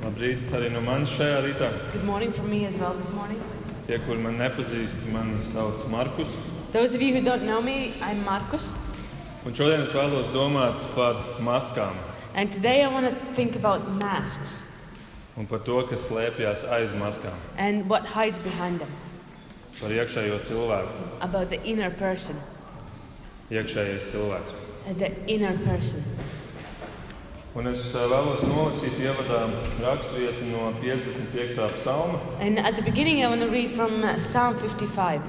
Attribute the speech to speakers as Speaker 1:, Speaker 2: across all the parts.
Speaker 1: Labrīt arī no manis šajā rītā.
Speaker 2: Good morning from me as well this morning.
Speaker 1: Tie, kur man nepazīst, mani sauc Markus.
Speaker 2: Those of you who don't know me, I'm Marcus,
Speaker 1: Un šodien es vēlos domāt par maskām
Speaker 2: and today I want to think about masks
Speaker 1: un par to, kas slēpjas aiz maskām,
Speaker 2: and what hides behind them,
Speaker 1: par iekšējo cilvēku,
Speaker 2: about the inner person,
Speaker 1: iekšējais cilvēks.
Speaker 2: uh, the inner person.
Speaker 1: Un es eh, vēlos nolasīt ievadā raksturvietu no 55. psalma.
Speaker 2: And at the beginning, I want to read from uh, Psalm 55.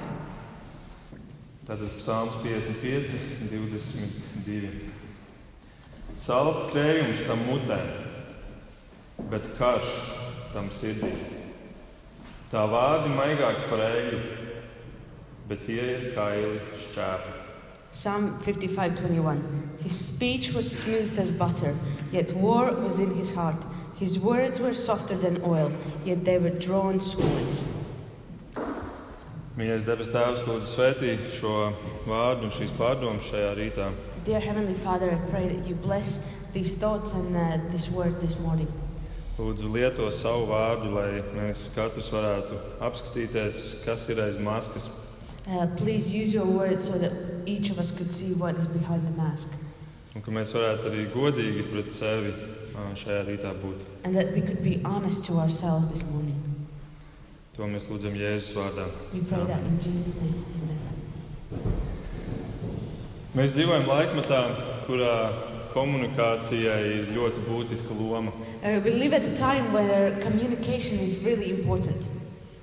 Speaker 1: Tātad psalms 55, 22. Salds krējums tam mutē, bet karš tam sirdī. Tā vārdi maigāk par eļu, bet tie ir kaili šķēpi.
Speaker 2: Psalm 55 21. His speech was smooth as butter, yet war was in his heart. His words were softer than oil, yet they were drawn swords.
Speaker 1: Mīļais debes Tēvs, lūdzu svētī šo vārdu un šīs pārdomas šajā rītā.
Speaker 2: Dear Heavenly Father, I pray that you bless these thoughts and uh, this word this morning.
Speaker 1: Lūdzu, lieto savu vārdu, lai mēs katrs varētu apskatīties, kas ir aiz maskas,
Speaker 2: Uh, please use your words so that each of us could see what is behind the mask
Speaker 1: un ka mēs varētu arī godīgi pret sevi ā, šajā rītā būt.
Speaker 2: and that we could be honest to ourselves this morning.
Speaker 1: To mēs lūdzam Jēzus vārdā.
Speaker 2: We pray that in Jesus' name. Amen.
Speaker 1: Mēs dzīvojam laikmatā, kurā komunikācijai ir ļoti būtiska loma.
Speaker 2: Uh, we live at a time where communication is really important.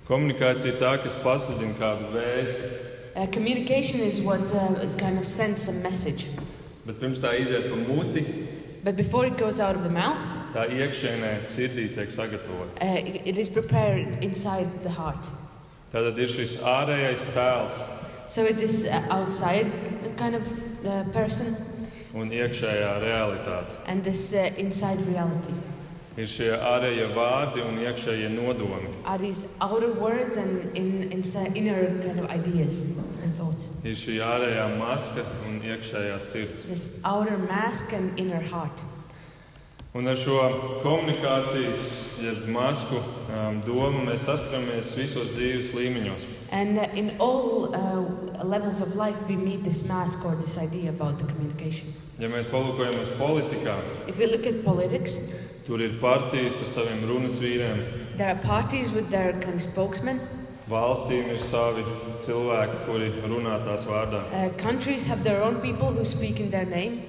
Speaker 1: Komunikācija ir tā, kas pasludina kādu vēstu,
Speaker 2: Uh, communication is what uh, kind of sends a message.
Speaker 1: bet pirms tā iziet pa muti,
Speaker 2: But before it goes out of the mouth,
Speaker 1: tā iekšēnē sirdī tiek sagatavota.
Speaker 2: uh, it it is prepared inside the heart.
Speaker 1: Tātad ir šis ārējais tēls
Speaker 2: So it is uh, outside the kind of uh, person
Speaker 1: un iekšējā realitāte.
Speaker 2: and this uh, inside reality
Speaker 1: Ir šie ārējie vārdi un iekšējie nodomi.
Speaker 2: are these outer words and in, inside inner kind of ideas and thoughts.
Speaker 1: Ir šī ārējā maska un iekšējā sirds.
Speaker 2: This outer mask and inner heart.
Speaker 1: Un ar šo komunikācijas, jeb masku um, domu mēs saskaramies visos dzīves līmeņos.
Speaker 2: And uh, in all uh, levels of life, we meet this mask or this idea about the communication.
Speaker 1: Ja mēs palūkojamies politikā,
Speaker 2: If we look at politics,
Speaker 1: tur ir partijas ar saviem runas vīriem,
Speaker 2: there are parties with their kind of spokesmen.
Speaker 1: valstīm ir savi cilvēki, kuri runā tās vārdā.
Speaker 2: Uh, countries have their own people who speak in their name.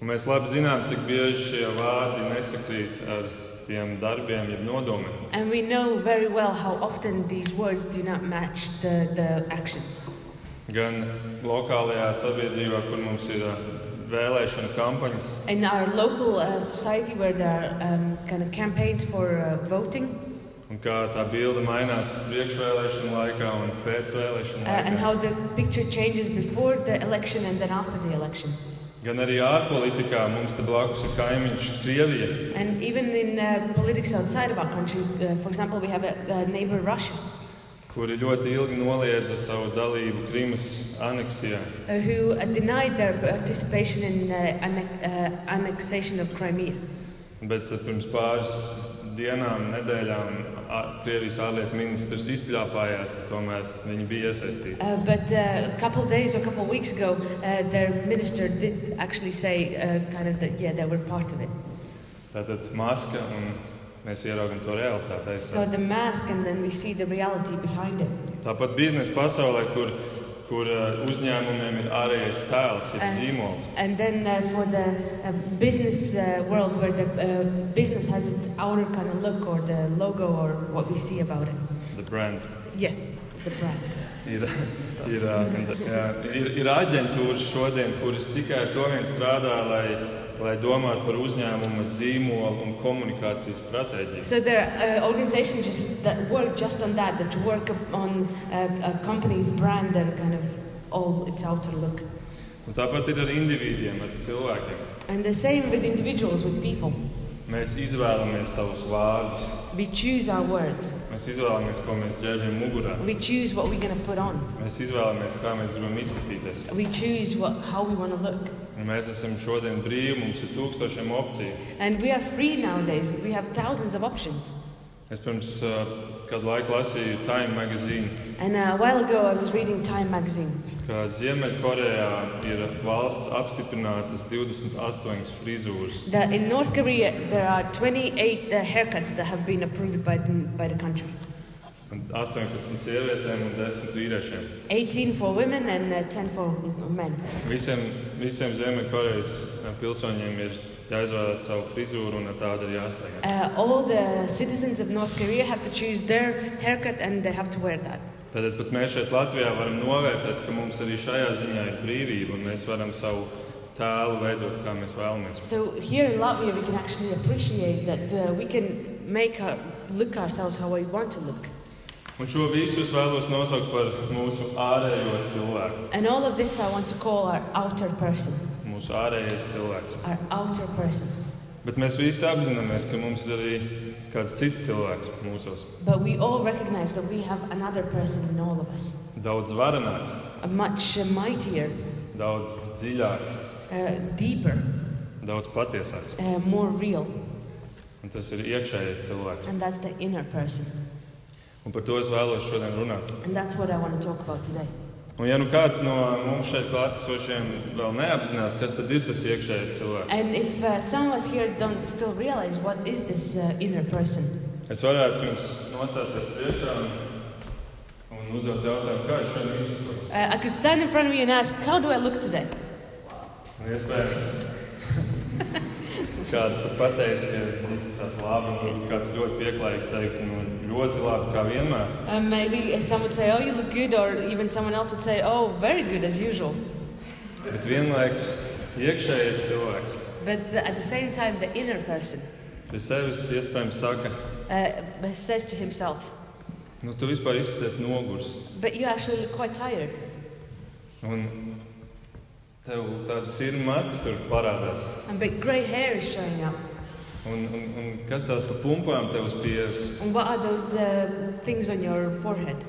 Speaker 1: Un mēs labi zinām, cik bieži šie vārdi nesakrīt ar tiem darbiem, jeb nodomiem.
Speaker 2: And we know very well how often these words do not match the, the actions.
Speaker 1: Gan lokālajā sabiedrībā, kur mums ir ā, vēlēšana kampaņas,
Speaker 2: In our local uh, society, where there are um, kind of campaigns for uh, voting,
Speaker 1: un kā tā bilde mainās priekšvēlēšana laikā un
Speaker 2: uh,
Speaker 1: pēcvēlēšana
Speaker 2: and
Speaker 1: laikā,
Speaker 2: how the picture changes before the election and then after the election,
Speaker 1: gan arī ārpolitikā mums te blakus ir kaimiņš Krievija,
Speaker 2: and even in uh, politics outside of our country, uh, for example, we have a, a neighbor Russia uh,
Speaker 1: kuri ļoti ilgi noliedza savu dalību Krimas aneksijā.
Speaker 2: uh, who uh, denied their participation in uh, annex- uh, annexation of Crimea. Uh,
Speaker 1: Bet ā, pirms pāris dienām, nedēļām ā- Krievijas ārlietu ministrs izpļāpājās, ka tomēr viņi bija iesaistīti.
Speaker 2: Uh, but uh, a couple days or a couple weeks ago, uh, their minister did actually say, uh, kind of, that yeah, they were part of it.
Speaker 1: Tātad maska un mēs ieraugam to realitāti. aiz tā.
Speaker 2: So the mask, and then we see the reality behind it.
Speaker 1: Tāpat biznesa pasaulē, kur, kur uh, uzņēmumiem ir ārējais tēls, ir
Speaker 2: Ai.
Speaker 1: zīmols.
Speaker 2: And then uh, for the uh, business uh, world, where the uh, business has its outer kind of look or the logo or what we see about it.
Speaker 1: The brand.
Speaker 2: Yes, the brand.
Speaker 1: Ir, ir, uh, jā, ir, ir aģentūras šodien, kuras tikai ar to vien strādā, lai, lai domātu par uzņēmuma zīmolu un komunikācijas stratēģiju.
Speaker 2: So there are uh, organizations just that work just on that, that work up on uh, a company's brand and kind of all its outer look.
Speaker 1: Un tāpat ir ar indivīdiem, ar cilvēkiem.
Speaker 2: And the same with individuals, with people.
Speaker 1: Mēs izvēlamies savus vārdus,
Speaker 2: We choose our words.
Speaker 1: mēs izvēlamies, ko mēs ģērbjam mugurā.
Speaker 2: We choose what we're going to put on.
Speaker 1: Mēs izvēlamies, kā mēs gribam izskatīties.
Speaker 2: We choose what, how we want to look.
Speaker 1: Un Mēs esam šodien brīvi, mums ir tūkstošiem opciju.
Speaker 2: And we are free nowadays. We have thousands of options.
Speaker 1: Es pirms uh, kādu laiku lasīju Time magazīnu,
Speaker 2: And uh, a while ago, I was reading Time magazine,
Speaker 1: ka Ziemeļkorejā ir valsts apstiprinātas 28 frizūras.
Speaker 2: that in North Korea there are 28 uh, haircuts that have been approved by the, by the country.
Speaker 1: Un 18 sievietēm un 10 vīriešiem.
Speaker 2: 18 for women and uh, 10 for men.
Speaker 1: Visiem, visiem Ziemeļkorejas eh, pilsoņiem ir jāizvēlas savu frizūru un ar tādu ir jāsteigā.
Speaker 2: Uh, all the citizens of North Korea have to choose their haircut and they have to wear that.
Speaker 1: Tad pat mēs šeit Latvijā varam novērtēt, ka mums arī šajā ziņā ir brīvība un mēs varam savu tēlu veidot, kā mēs vēlamies.
Speaker 2: So here in Latvia, we can actually appreciate that uh, we can make our, look ourselves how we want to look.
Speaker 1: Un šo visu es vēlos nosaukt par mūsu ārējo cilvēku.
Speaker 2: And all of this I want to call our outer person,
Speaker 1: Mūsu ārējais cilvēks.
Speaker 2: our outer person.
Speaker 1: Bet mēs visi apzināmies, ka mums ir arī kāds cits cilvēks mūsos.
Speaker 2: But we all recognize that we have another person in all of us,
Speaker 1: Daudz varenāks,
Speaker 2: a much mightier,
Speaker 1: daudz dziļāks,
Speaker 2: uh, deeper,
Speaker 1: daudz patiesāks.
Speaker 2: uh, more real,
Speaker 1: Un tas ir iekšējais cilvēks.
Speaker 2: and that's the inner person.
Speaker 1: Un par to es vēlos šodien runāt.
Speaker 2: And that's what I want to talk about today.
Speaker 1: Un ja nu kāds no mums šeit klātesošiem vēl neapzinās, kas tad ir tas iekšējais cilvēks,
Speaker 2: And if uh, some of us here don't still realize what is this uh, inner person,
Speaker 1: es varētu jums nostāties priekšā un, un uzdot jautājumu, kā es šodien izskatos.
Speaker 2: uh, I could stand in front of you and ask, How do I look today?
Speaker 1: Un Iespējams, kāds pat pateica, ka viss ir tāds labi, un varbūt kāds ļoti pieklājīgs teikt, nu, ļoti labi, kā vienmēr.
Speaker 2: Uh, maybe some would say, Oh, you look good, or even someone else would say, Oh, very good as usual.
Speaker 1: Bet vienlaikus iekšējais cilvēks
Speaker 2: But the, at the same time, the inner person
Speaker 1: pie sevis iespējams saka,
Speaker 2: uh, says to himself,
Speaker 1: nu, tu vispār izskaties nogurs.
Speaker 2: But you actually look quite tired.
Speaker 1: Un tev tāda sirma matra tur parādās.
Speaker 2: And but grey hair is showing up.
Speaker 1: Un, un, un kas tās pa pumpām tev spiež?
Speaker 2: And what are those uh, things on your forehead?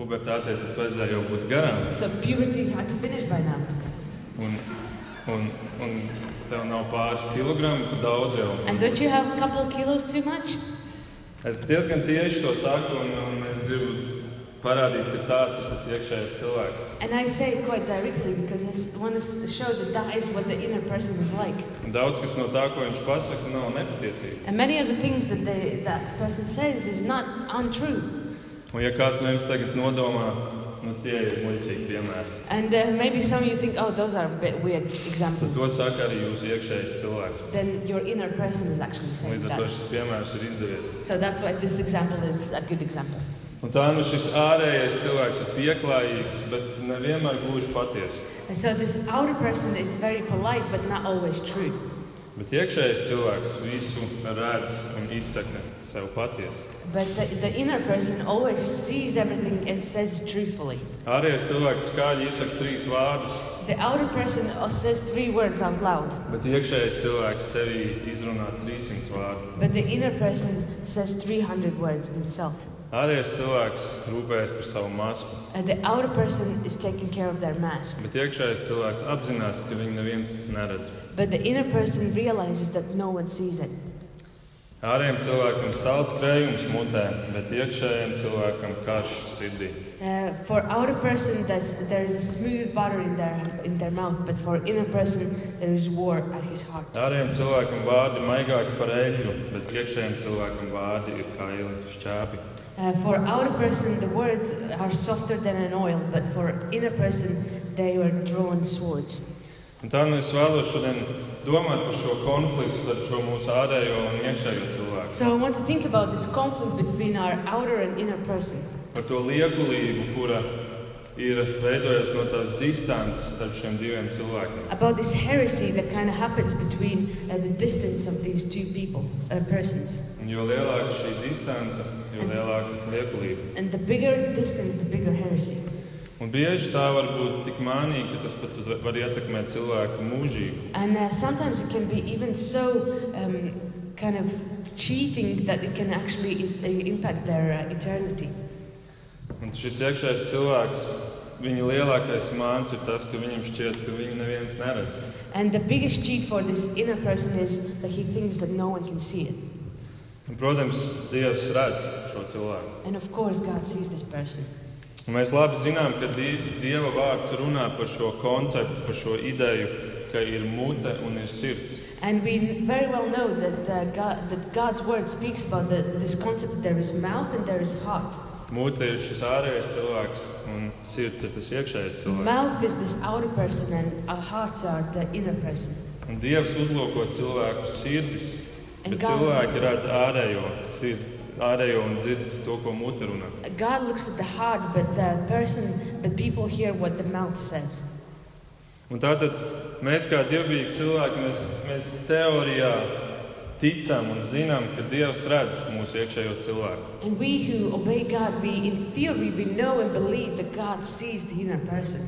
Speaker 1: Pubertātē tas vajadzēja jau būt garām.
Speaker 2: So puberty had to finish by now.
Speaker 1: Un, un, un tev nav pāris kilogramu, pa daudz jau.
Speaker 2: And don't you have a couple of kilos too much?
Speaker 1: Es diezgan tieši to saku, un, un es gribu parādīt, ka tāds ir tas iekšējais cilvēks.
Speaker 2: And I say it quite directly because I s- want to s- show that that is what the inner person is like.
Speaker 1: Un daudz kas no tā, ko viņš pasaka, nav nepatiesība.
Speaker 2: And many of the things that they, that person says is not untrue.
Speaker 1: Un ja kāds no jums tagad nodomā, nu tie ir muļķīgi piemēri,
Speaker 2: And uh, maybe some of you think, oh, those are a bit weird
Speaker 1: tad
Speaker 2: examples.
Speaker 1: to saka arī jūsu iekšējais cilvēks.
Speaker 2: Then your inner person is actually saying
Speaker 1: Līdz ar to
Speaker 2: that.
Speaker 1: šis piemērs ir izdevies.
Speaker 2: So that's why this example is a good example.
Speaker 1: Un tā nu šis ārējais cilvēks ir pieklājīgs, bet nevienmēr gluži patiesa.
Speaker 2: And so this outer person is very polite, but not always true.
Speaker 1: Bet iekšējais cilvēks visu redz un izsaka sev patiesu.
Speaker 2: But the, the inner person always sees everything and says it truthfully.
Speaker 1: Ārējais cilvēks skaļi izsaka trīs vārdus,
Speaker 2: The outer person uh, says three words out loud,
Speaker 1: bet iekšējais cilvēks sevi izrunā 300 vārdu.
Speaker 2: but the inner person says 300 words himself.
Speaker 1: Ārējais cilvēks rūpējas par savu masku,
Speaker 2: And the outer person is taking care of their mask,
Speaker 1: bet iekšējais cilvēks apzinās, ka viņu neviens neredz.
Speaker 2: but the inner person realizes that no one sees it.
Speaker 1: Ārējiem cilvēkam salds krējums mutē, bet iekšējiem cilvēkam karš sirdī.
Speaker 2: Uh, for outer person, there's, there is a smooth butter in their, in their mouth, but for inner person, there is war at his heart.
Speaker 1: Ārējiem cilvēkam vārdi maigāki par eļļu, bet iekšējiem cilvēkam vārdi ir kaili šķēpi.
Speaker 2: Uh, for outer person, the words are softer than an oil, but for inner person, they were drawn swords.
Speaker 1: Un tā nu es vēlos šodien domāt par šo konfliktu starp šo mūsu ārējo un iekšējo cilvēku.
Speaker 2: So I want to think about this conflict between our outer and inner person,
Speaker 1: Par to liekulību, kura ir veidojusies no tās distances starp šiem diviem cilvēkiem.
Speaker 2: about this heresy that kind of happens between uh, the distance of these two people, uh, persons.
Speaker 1: Un jo lielāka šī distance, jo lielāka liekulība.
Speaker 2: And the bigger the distance, the bigger heresy.
Speaker 1: Un bieži tā var būt tik mānīga, ka tas pat var ietekmēt cilvēku mūžību.
Speaker 2: And uh, sometimes it can be even so um, kind of cheating that it can actually i- i- impact their uh, eternity.
Speaker 1: Un šis iekšējais cilvēks, viņa lielākais mākslinieks ir tas, ka viņam šķiet, ka viņu neviens neredz.
Speaker 2: And the biggest cheat for this inner person is that he thinks that no one can see it.
Speaker 1: Un, protams, Dievs redz šo cilvēku.
Speaker 2: And of course, God sees this person.
Speaker 1: Un Mēs labi zinām, ka Die- Dieva vārds runā par šo konceptu, par šo ideju, ka ir mute un ir sirds.
Speaker 2: And we very well know that, uh, God, that God's word speaks about the, this concept that there is mouth and there is heart.
Speaker 1: Mute ir šis ārējais cilvēks, un sirds ir tas iekšējais cilvēks.
Speaker 2: Mouth is this outer person, and our hearts are the inner person.
Speaker 1: Un Dievs uzlūko cilvēku sirdis,
Speaker 2: And
Speaker 1: bet
Speaker 2: God,
Speaker 1: cilvēki redz ārējo, sirdi, ārējo un dzird to, ko mute runā.
Speaker 2: God looks at the heart, but the person, but people hear what the mouth says.
Speaker 1: Un tātad mēs kā dievbijīgi cilvēki, mēs, mēs teorijā ticam un zinām, ka Dievs redz mūsu iekšējo cilvēku.
Speaker 2: And we who obey God, we in theory we know and believe that God sees the inner person.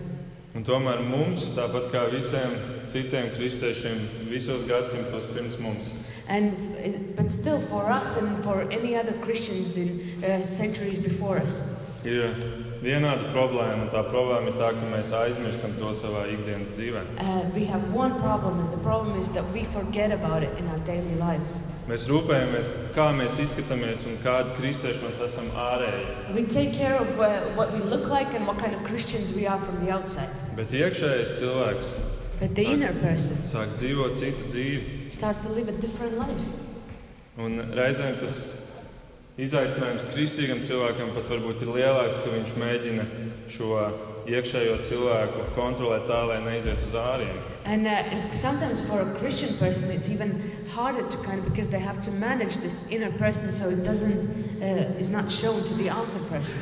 Speaker 1: Un tomēr mums, tāpat kā visiem citiem kristiešiem, visos gadsimtos pirms mums,
Speaker 2: And eh, but still, for us and for any other Christians in uh, centuries before us,
Speaker 1: ir vienāda problēma. Un tā problēma ir tā, ka mēs aizmirstam to savā ikdienas dzīvē.
Speaker 2: uh, we have one problem, and the problem is that we forget about it in our daily lives.
Speaker 1: Mēs rūpējamies, kā mēs izskatāmies un kādi kristieši mēs esam ārēji.
Speaker 2: We take care of uh, what we look like and what kind of Christians we are from the outside.
Speaker 1: Bet iekšējais cilvēks
Speaker 2: But the
Speaker 1: Sorry.
Speaker 2: inner person
Speaker 1: sāk dzīvot citu dzīvi.
Speaker 2: starts to live a different life.
Speaker 1: Un reizēm tas izaicinājums kristīgam cilvēkam pat varbūt ir lielāks, ka viņš mēģina šo iekšējo cilvēku kontrolēt tā, lai neizietu uz āriem.
Speaker 2: And uh, and sometimes for a Christian person, it's even harder to kind of because they have to manage this inner person so it doesn't, uh, is not shown to the outer person.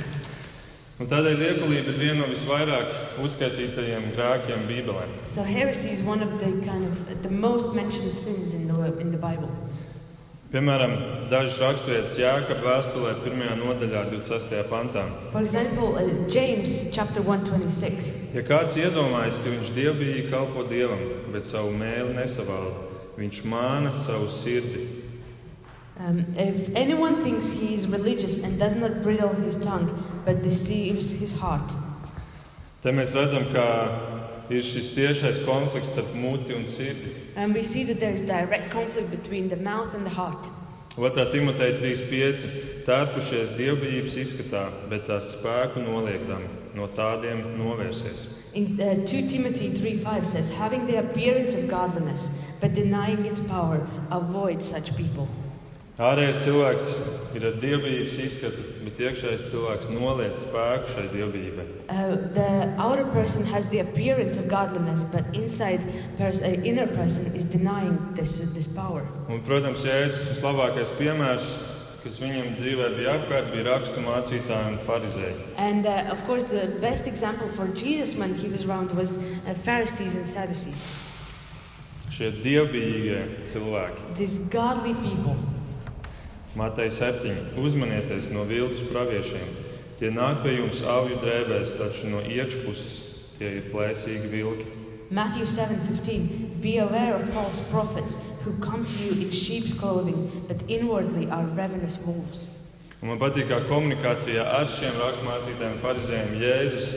Speaker 1: Un tādēļ liekulība ir viena no visvairāk uzskaitītajiem grēkiem Bībelē.
Speaker 2: So heresy is one of the kind of the most mentioned sins in the in the Bible.
Speaker 1: Piemēram, dažas raksturietas Jāekaba vēstulē 1. nodaļā, 26. pantā.
Speaker 2: For example, uh, James chapter 126.
Speaker 1: Ja kāds iedomājas, ka viņš dievbijīgi kalpo dievam, bet savu mēlu nesavalda, viņš māna savu sirdi.
Speaker 2: Um, if anyone thinks he is religious and does not bridle his tongue, but deceives his heart.
Speaker 1: Te mēs redzam, ka ir šis tiešais konflikts starp muti un sirdi.
Speaker 2: And we see that there is direct conflict between the mouth and the heart.
Speaker 1: 2. Timoteja 3.5. Tērpušies dievbijības izskatā, bet tās spēku noliekdami no tādiem novērsies.
Speaker 2: In uh, 2 Timothy 3:5 says, "Having the appearance of godliness, but denying its power, avoid such people."
Speaker 1: Ārējais cilvēks ir ar dievbijības izskatu, bet iekšējais cilvēks noliek spēku šai dievbijībai.
Speaker 2: Uh, the outer person has the appearance of godliness, but inside pers- uh, inner person is denying this this power.
Speaker 1: Un, protams, Jēzus vislabākais piemērs, kas viņam dzīvē bija apkārt, bija rakstu mācītāji un farizēji.
Speaker 2: And uh, of course, the best example for Jesus when he was around was uh, Pharisees and Sadducees,
Speaker 1: Šie dievbijīgie cilvēki.
Speaker 2: these godly people.
Speaker 1: Mātei 7. Uzmanieties no viltus praviešiem. Tie nāk pie jums avju drēbēs, taču no iekšpuses tie ir plēsīgi vilki.
Speaker 2: Matthew 7:15 Be aware of false prophets who come to you in sheep's clothing but inwardly are ravenous wolves.
Speaker 1: Un man patīk, kā komunikācijā ar šiem raksturmācītājiem, farizējiem Jēzus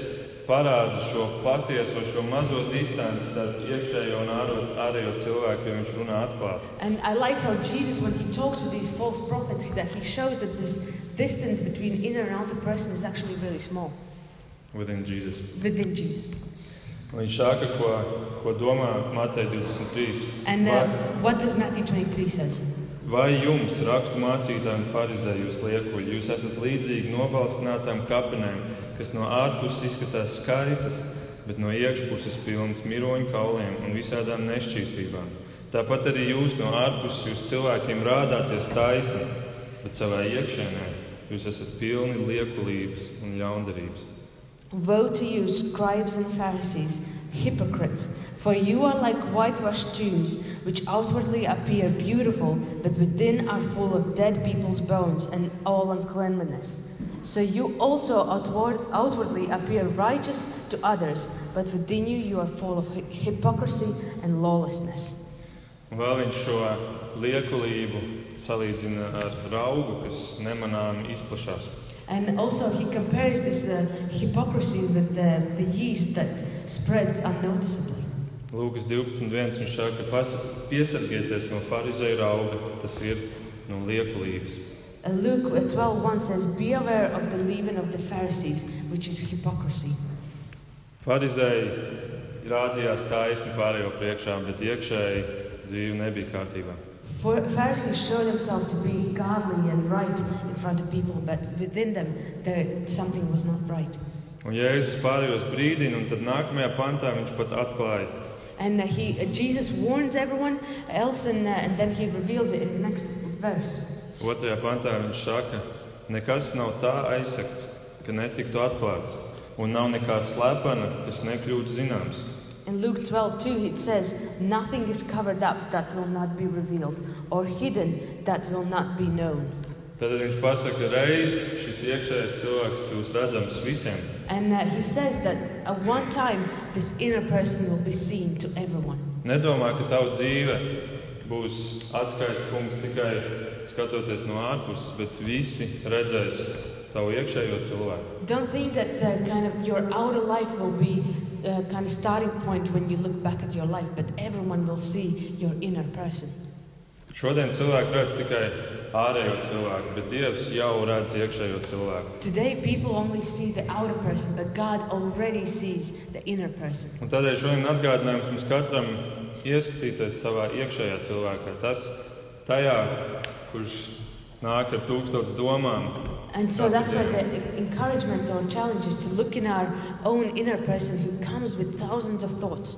Speaker 1: parāda šo patieso, šo mazo distanci starp iekšējo un āro- ārējo cilvēku, jo viņš runā atklāti.
Speaker 2: And I like how Jesus, when he talks with these false prophets, that he shows that this distance between inner and outer person is actually really small
Speaker 1: Within Jesus.
Speaker 2: within Jesus.
Speaker 1: Un Viņš saka, ko, ko domā Matei 23.
Speaker 2: And uh,
Speaker 1: Vai,
Speaker 2: what does Matthew 23 says?
Speaker 1: Vai jums, rakstu mācītājiem, farizēji, jūs liekuļi, jūs esat līdzīgi nobalstinātām kapenēm, kas no ārpuses izskatās skaistas, bet no iekšpuses pilnas miroņu kauliem un visādām nešķīstībām? Tāpat arī jūs no ārpuses jūs cilvēkiem rādāties taisni, bet savā iekšēnē jūs esat pilni liekulības un ļaundarības.
Speaker 2: Woe to you, scribes and Pharisees, hypocrites! For you are like whitewashed tombs, which outwardly appear beautiful, but within are full of dead people's bones and all uncleanliness. So you also outward, outwardly appear righteous to others, but within you you are full of hy- hypocrisy and lawlessness.
Speaker 1: Un Vēl viņš šo liekulību salīdzina ar augu, kas nemanāmi izplatās.
Speaker 2: And also he compares this uh, hypocrisy with the, the yeast that spreads unnoticeably.
Speaker 1: Lūkas 12.1. Viņš saka, "Pas- piesargieties no farizēra auga, tas ir no liekulības.
Speaker 2: And Uh, Luke 12:1 says, "Be aware of the leaven of the Pharisees, which is hypocrisy."
Speaker 1: Farizēji rādījās taisni pārējo priekšā, bet iekšēji dzīve nebija kārtībā.
Speaker 2: For Pharisees show themselves to be godly and right in front of people, but within them there something was not right.
Speaker 1: Un Jēzus pārējos brīdina, un tad nākamajā pantā viņš pat atklāja,
Speaker 2: And uh, he, uh, Jesus warns everyone else, and, uh, and then he reveals it in the next verse.
Speaker 1: otrajā pantā viņš saka, nekas nav tā aizsakts, ka netiktu atklāts, un nav nekā slepena, kas nekļūtu zināms.
Speaker 2: In Luke 12:2, it says, "Nothing is covered up that will not be revealed, or hidden that will not be known."
Speaker 1: Tad viņš pasaka, ka reiz šis iekšējais cilvēks kļūs redzams visiem.
Speaker 2: And uh, he says that at one time this inner person will be seen to everyone.
Speaker 1: Nedomā, ka tava dzīve būs atskaites punkts tikai skatoties no ārpuses, bet visi redzēs tavu iekšējo cilvēku.
Speaker 2: Don't think that uh, kind of your outer life will be uh, kind of starting point when you look back at your life, but everyone will see your inner person.
Speaker 1: Šodien cilvēki redz tikai ārējo cilvēku, bet Dievs jau redz iekšējo cilvēku.
Speaker 2: Today people only see the outer person, but God already sees the inner person.
Speaker 1: Un tādēļ šodien atgādinājums mums katram ieskatīties savā iekšējā cilvēkā. Tas tajā, kurš nāk ar tūkstotis domām,
Speaker 2: And so that's why the encouragement or challenge is to look in our own inner person who comes with thousands of thoughts.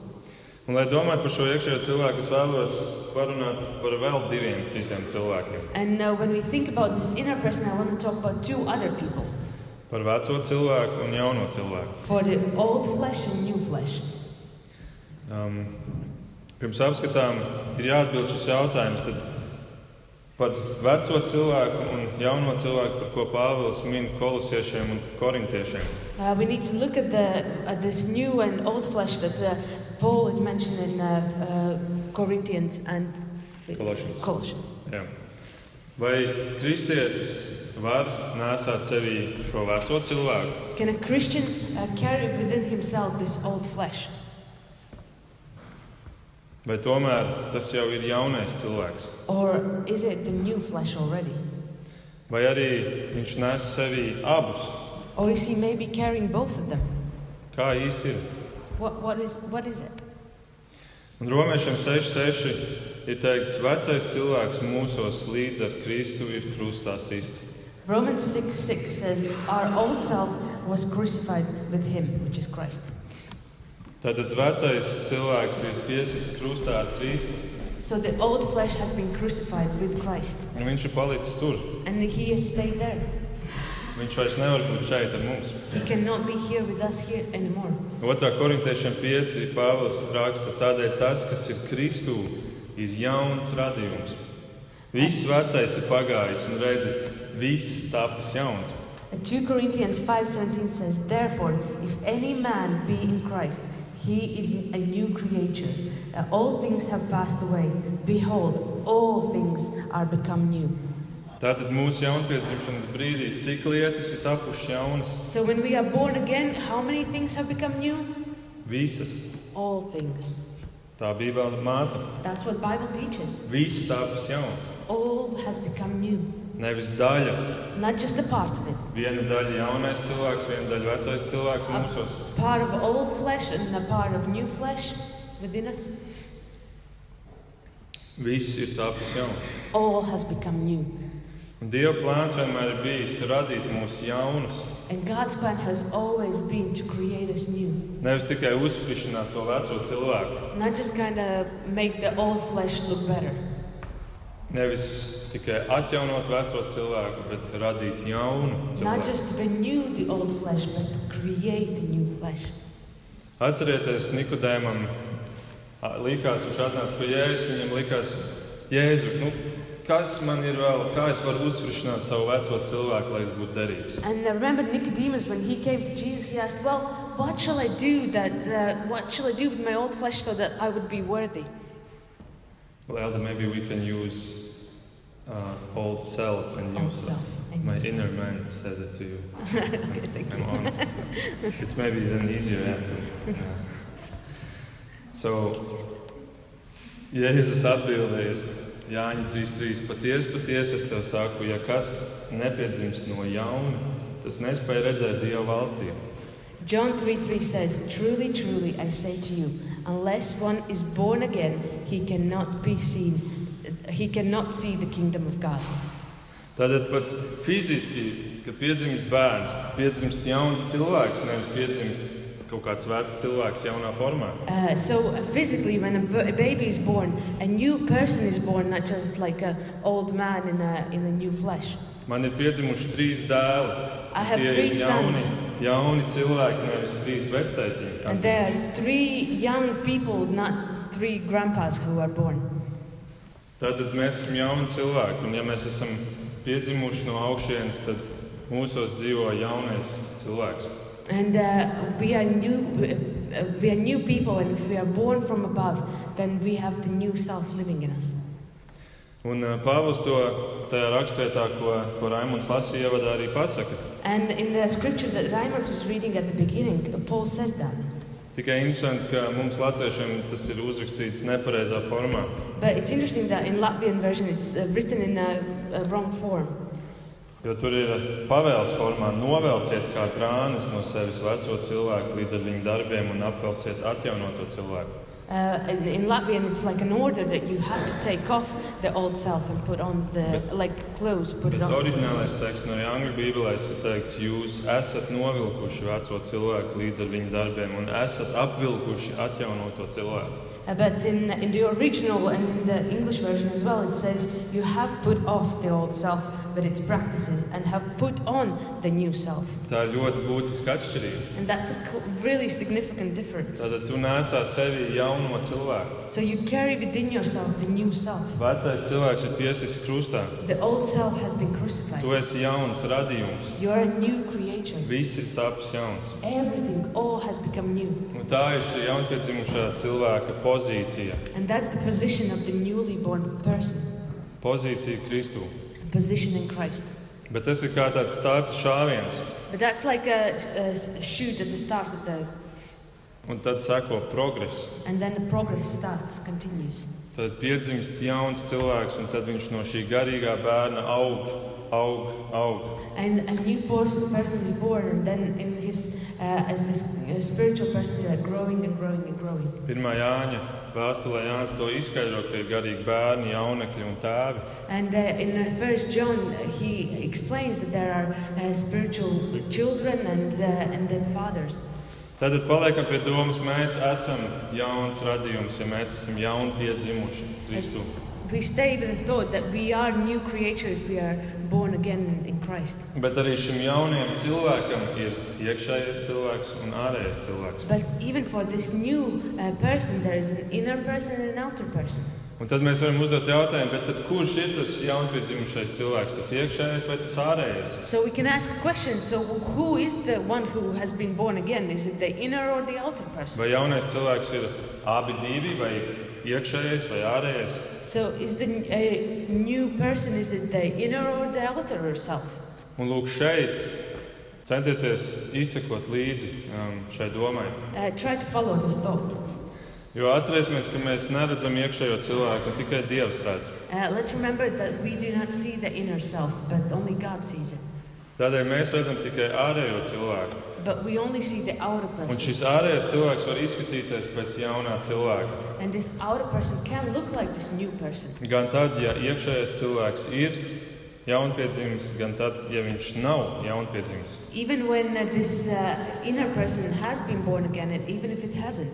Speaker 1: Un, lai domātu par šo iekšējo cilvēku, es vēlos parunāt par vēl diviem citiem cilvēkiem.
Speaker 2: And uh, when we think about this inner person, I want to talk about two other people.
Speaker 1: Par veco cilvēku un jauno cilvēku.
Speaker 2: For the old flesh and new flesh.
Speaker 1: Um, pirms apskatām, ir jāatbild šis jautājums tad par veco cilvēku un jauno cilvēku, par ko Pāvils min kolosiešiem un korintiešiem.
Speaker 2: Uh, we need to look at the at this new and old flesh that uh, Paul is mentioned in uh, uh, Corinthians and
Speaker 1: Colossians.
Speaker 2: Colossians.
Speaker 1: Jā. Vai kristietis var nesāt sevī šo veco cilvēku?
Speaker 2: Can a Christian uh, carry within himself this old flesh,
Speaker 1: Vai tomēr tas jau ir jaunais cilvēks?
Speaker 2: or is it the new flesh already,
Speaker 1: Vai arī viņš nes sevī abus
Speaker 2: or is he maybe carrying both of them?
Speaker 1: Kā īsti ir?
Speaker 2: What what is what is it?
Speaker 1: Un romiešiem 6,6 ir teikts, vecais cilvēks mūsos līdz ar Kristu ir krustā sists.
Speaker 2: Romans six six says, "Our old self was crucified with him, which is Christ."
Speaker 1: Tātad vecais cilvēks ir piesis krustā ar Kristu,
Speaker 2: So the old flesh has been crucified with Christ.
Speaker 1: un viņš ir palicis tur.
Speaker 2: And he has stayed there.
Speaker 1: Viņš vairs nevar būt šeit ar mums.
Speaker 2: He cannot be here with us here anymore.
Speaker 1: 2. korintiešiem 5. Pāvils raksta, tādēļ tas, kas ir Kristū, ir jauns radījums. Viss vecais ir pagājis, un redzi, viss tapis jauns.
Speaker 2: And 2 Corinthians 5:17 says, "Therefore, if any man be in Christ, he is a new creature. Uh, all things have passed away. Behold, all things are become new."
Speaker 1: Tātad mūsu jaunpiedzimšanas brīdī, cik lietas ir tapušas jaunas,
Speaker 2: So when we are born again, how many things have become new?
Speaker 1: visas
Speaker 2: All things.
Speaker 1: tā Bībele māca.
Speaker 2: That's what Bible teaches.
Speaker 1: Viss tapušas jauns.
Speaker 2: All has become new,
Speaker 1: Nevis daļa.
Speaker 2: not just a part of it.
Speaker 1: Viena daļa jaunais cilvēks, viena daļa vecais cilvēks mūsos.
Speaker 2: Part of old flesh and a part of new flesh within us.
Speaker 1: Viss ir tapušas jauns.
Speaker 2: all has become new.
Speaker 1: Un Dieva plāns vienmēr ir bijis radīt mūs jaunus.
Speaker 2: And God's plan has always been to create us new,
Speaker 1: Nevis tikai uzsprišanāt to veco cilvēku.
Speaker 2: not just kind of make the old flesh look better,
Speaker 1: Nevis tikai atjaunot veco cilvēku, bet radīt jaunu
Speaker 2: not
Speaker 1: cilvēku.
Speaker 2: just renew the old flesh, but create a new flesh.
Speaker 1: Atcerieties, Nikodēmam ā, likās, viņš atnāca pie Jēzus. Viņam likās, Jēzu, nu, kas man ir vēl, kā es varu uzsprišināt savu veco cilvēku, lai es būtu derīgs.
Speaker 2: And I remember Nicodemus when he came to Jesus, he asked, "Well, what shall I do that? Uh, what shall I do with my old flesh so that I would be worthy?"
Speaker 1: Well, Elder, maybe we can use uh, old self and new
Speaker 2: Old
Speaker 1: self.
Speaker 2: self. And
Speaker 1: My
Speaker 2: new
Speaker 1: inner man says it to you.
Speaker 2: self. Okay, thank you.
Speaker 1: I'm honest. it's maybe then easier. Yeah, to, yeah. So, Jēzus atbildēja Jāņa 3.3. Patiesi, patiesi es tev saku, ja kas nepiedzims no jauna, tas nespēja redzēt Dieva valstību.
Speaker 2: John 3 3 says, Truly, truly, I say to you, unless one is born again, he cannot be seen, he cannot see the kingdom of God.
Speaker 1: Tātad pat fiziski, kad piedzimst bērns, piedzimst jauns cilvēks, nevis piedzimst kaut kāds vecs cilvēks jaunā formā.
Speaker 2: Uh, so uh, physically, when a, b- a baby is born, a new person is born, not just like an old man in a, in a new flesh.
Speaker 1: Man ir piedzimuši trīs dēli.
Speaker 2: I have
Speaker 1: Tie ir
Speaker 2: three
Speaker 1: jauni,
Speaker 2: sons,
Speaker 1: jauni cilvēki, nevis trīs vecētiņi.
Speaker 2: and there are three young people, not three grandpas who are born.
Speaker 1: Tātad mēs esam jauni cilvēki, un ja mēs esam piedzimuši no augšienes, tad mūsos dzīvo jaunais cilvēks.
Speaker 2: And uh, we are new, uh, uh, we are new people, and if we are born from above, then we have the new self living in us.
Speaker 1: Un ā, Pāvils to tajā rakstvietā, ko, ko Raimons lasīja, ievadā arī pasaka.
Speaker 2: And in the scripture that Raymond was reading at the beginning, Paul says that.
Speaker 1: Tikai interesanti, ka mums latviešiem tas ir uzrakstīts nepareizā formā.
Speaker 2: But it's interesting that in Latvian version it's uh, written in a, a wrong form.
Speaker 1: Jo tur ir pavēles formā, novelciet kā trānis no sevis veco cilvēku līdz ar viņu darbiem un apvelciet atjaunoto cilvēku.
Speaker 2: Uh, in, in Latvian, it's like an order that you have to take off the old self and put on the like clothes. Put it
Speaker 1: Bet
Speaker 2: on.
Speaker 1: oriģinālais teksts no Jāņa Bībeles ir teikts, jūs esat novilkuši veco cilvēku līdz ar viņu darbiem un esat apvilkuši atjaunoto cilvēku.
Speaker 2: Uh, but in in the original and in the English version as well, it says you have put off the old self, but its practices, and have put on the new self.
Speaker 1: Tā ir ļoti būtiska atšķirība.
Speaker 2: And that's a co- really significant difference.
Speaker 1: Tātad tu nesā sevi jauno cilvēku.
Speaker 2: So you carry within yourself the new self.
Speaker 1: Vecais cilvēks ir piesists krustā.
Speaker 2: The old self has been crucified.
Speaker 1: Tu esi jauns radījums.
Speaker 2: You are a new creation.
Speaker 1: Viss ir tapis jauns.
Speaker 2: Everything, all has become new.
Speaker 1: Un tā ir šī jaunpiedzimušā cilvēka pozīcija.
Speaker 2: And that's the position of the newly born person,
Speaker 1: Pozīcija Kristū.
Speaker 2: a position in Christ.
Speaker 1: Bet tas ir kā tāds starta šāviens.
Speaker 2: But that's like a, a shoot at the start of the,
Speaker 1: Un tad seko progress.
Speaker 2: and then the progress starts, continues.
Speaker 1: Tad piedzimst jauns cilvēks, un tad viņš no šī garīgā bērna aug, aug, aug.
Speaker 2: And a new person, person is born, and then in his, uh, as this uh, spiritual person, they are growing and growing and growing.
Speaker 1: Pirmā Jāņa vēstulē Jānis to izskaidro, ka ir garīgi bērni, jaunekļi un tēvi.
Speaker 2: And uh, in First John, uh, he explains that there are uh, spiritual children and uh, and then fathers.
Speaker 1: Tad paliekam pie domas, mēs esam jauns radījums, ja mēs esam jauni piedzimuši Kristu.
Speaker 2: We stay with the thought that we are new creature if we are born again in Christ.
Speaker 1: Bet arī šim jaunajam cilvēkam ir iekšējais cilvēks un ārējais cilvēks.
Speaker 2: But even for this new uh, person, there is an inner person and an outer person.
Speaker 1: Un tad mēs varam uzdot jautājumu, bet tad kurš ir tas jaunpiedzimušais cilvēks? Tas iekšējais vai tas ārējais?
Speaker 2: So we can ask questions. So who is the one who has been born again? Is it the inner or the outer person?
Speaker 1: Vai jaunais cilvēks ir abi divi, vai iekšējais, vai ārējais?
Speaker 2: So is the uh, new person is it the inner or the outer self?
Speaker 1: Un lūk, šeit centieties izsekot līdzi um, šai domai.
Speaker 2: Uh, try to follow this thought.
Speaker 1: Jo atcerēsimies, ka mēs neredzam iekšējo cilvēku, tikai Dievs redz.
Speaker 2: Uh, let's remember that we do not see the inner self, but only God sees it.
Speaker 1: Tādēļ mēs redzam tikai ārējo cilvēku.
Speaker 2: But we only see the outer
Speaker 1: Un
Speaker 2: person.
Speaker 1: šis ārējais cilvēks var izskatīties pēc jaunā cilvēka.
Speaker 2: And this outer person can look like this new person.
Speaker 1: Gan tad, ja iekšējais cilvēks ir jaunpiedzimis, gan tad, ja viņš nav jaunpiedzimis.
Speaker 2: Even when uh, this uh, inner person has been born again, and even if it hasn't.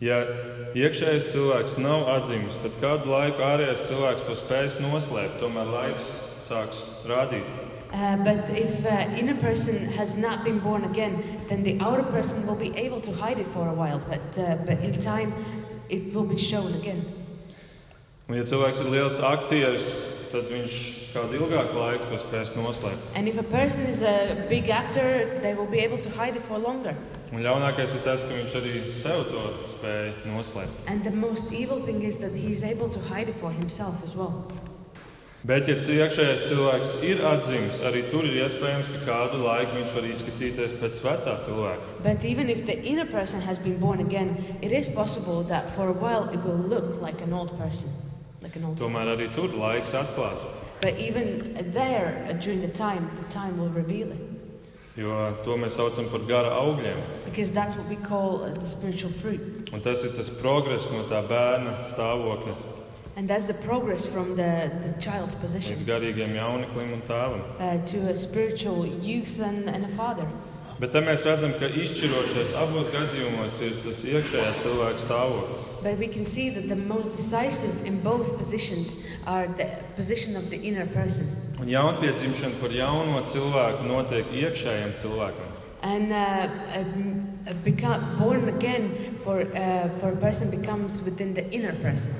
Speaker 1: Ja iekšējais cilvēks nav atzīmis, tad kādu laiku ārējais cilvēks to spēs noslēpt, tomēr laiks sāks rādīt.
Speaker 2: Uh, but if uh, inner person has not been born again, then the outer person will be able to hide it for a while. But uh, but in time, it will be shown again.
Speaker 1: Un, ja cilvēks ir liels aktieris, tad viņš kādu ilgāku laiku to spēs noslēpt.
Speaker 2: And if a person is a big actor, they will be able to hide it for longer.
Speaker 1: Un ļaunākais ir tas, ka viņš arī sev to spēja noslēpt.
Speaker 2: And the most evil thing is that he's able to hide it for himself as well.
Speaker 1: Bet, ja cil- iekšējais cilvēks ir atzīmis, arī tur ir iespējams, ka kādu laiku viņš var izskatīties pēc vecā cilvēka.
Speaker 2: But even if the inner person has been born again, it is possible that for a while it will look like an old person, like an old.
Speaker 1: Tomēr arī tur laiks atklās,
Speaker 2: But even there, uh, during the time, the time will reveal it,
Speaker 1: jo to mēs saucam par gara augļiem.
Speaker 2: because that's what we call uh, the spiritual fruit,
Speaker 1: Un tas ir tas progress no tā bērna stāvokļa
Speaker 2: and that's the progress from the, the child's
Speaker 1: līdz
Speaker 2: position
Speaker 1: garīgiem jauneklim un tēvam.
Speaker 2: uh, to a spiritual youth and, and a father.
Speaker 1: Bet te mēs redzam, ka izšķirošais abos gadījumos ir tas iekšējā cilvēka stāvoklis.
Speaker 2: But we can see that the most decisive in both positions are the position of the inner person.
Speaker 1: Un jaunpiedzimšana par jauno cilvēku notiek iekšējam cilvēkam.
Speaker 2: And uh, um, uh, become born again for, uh, for a person becomes within the inner person.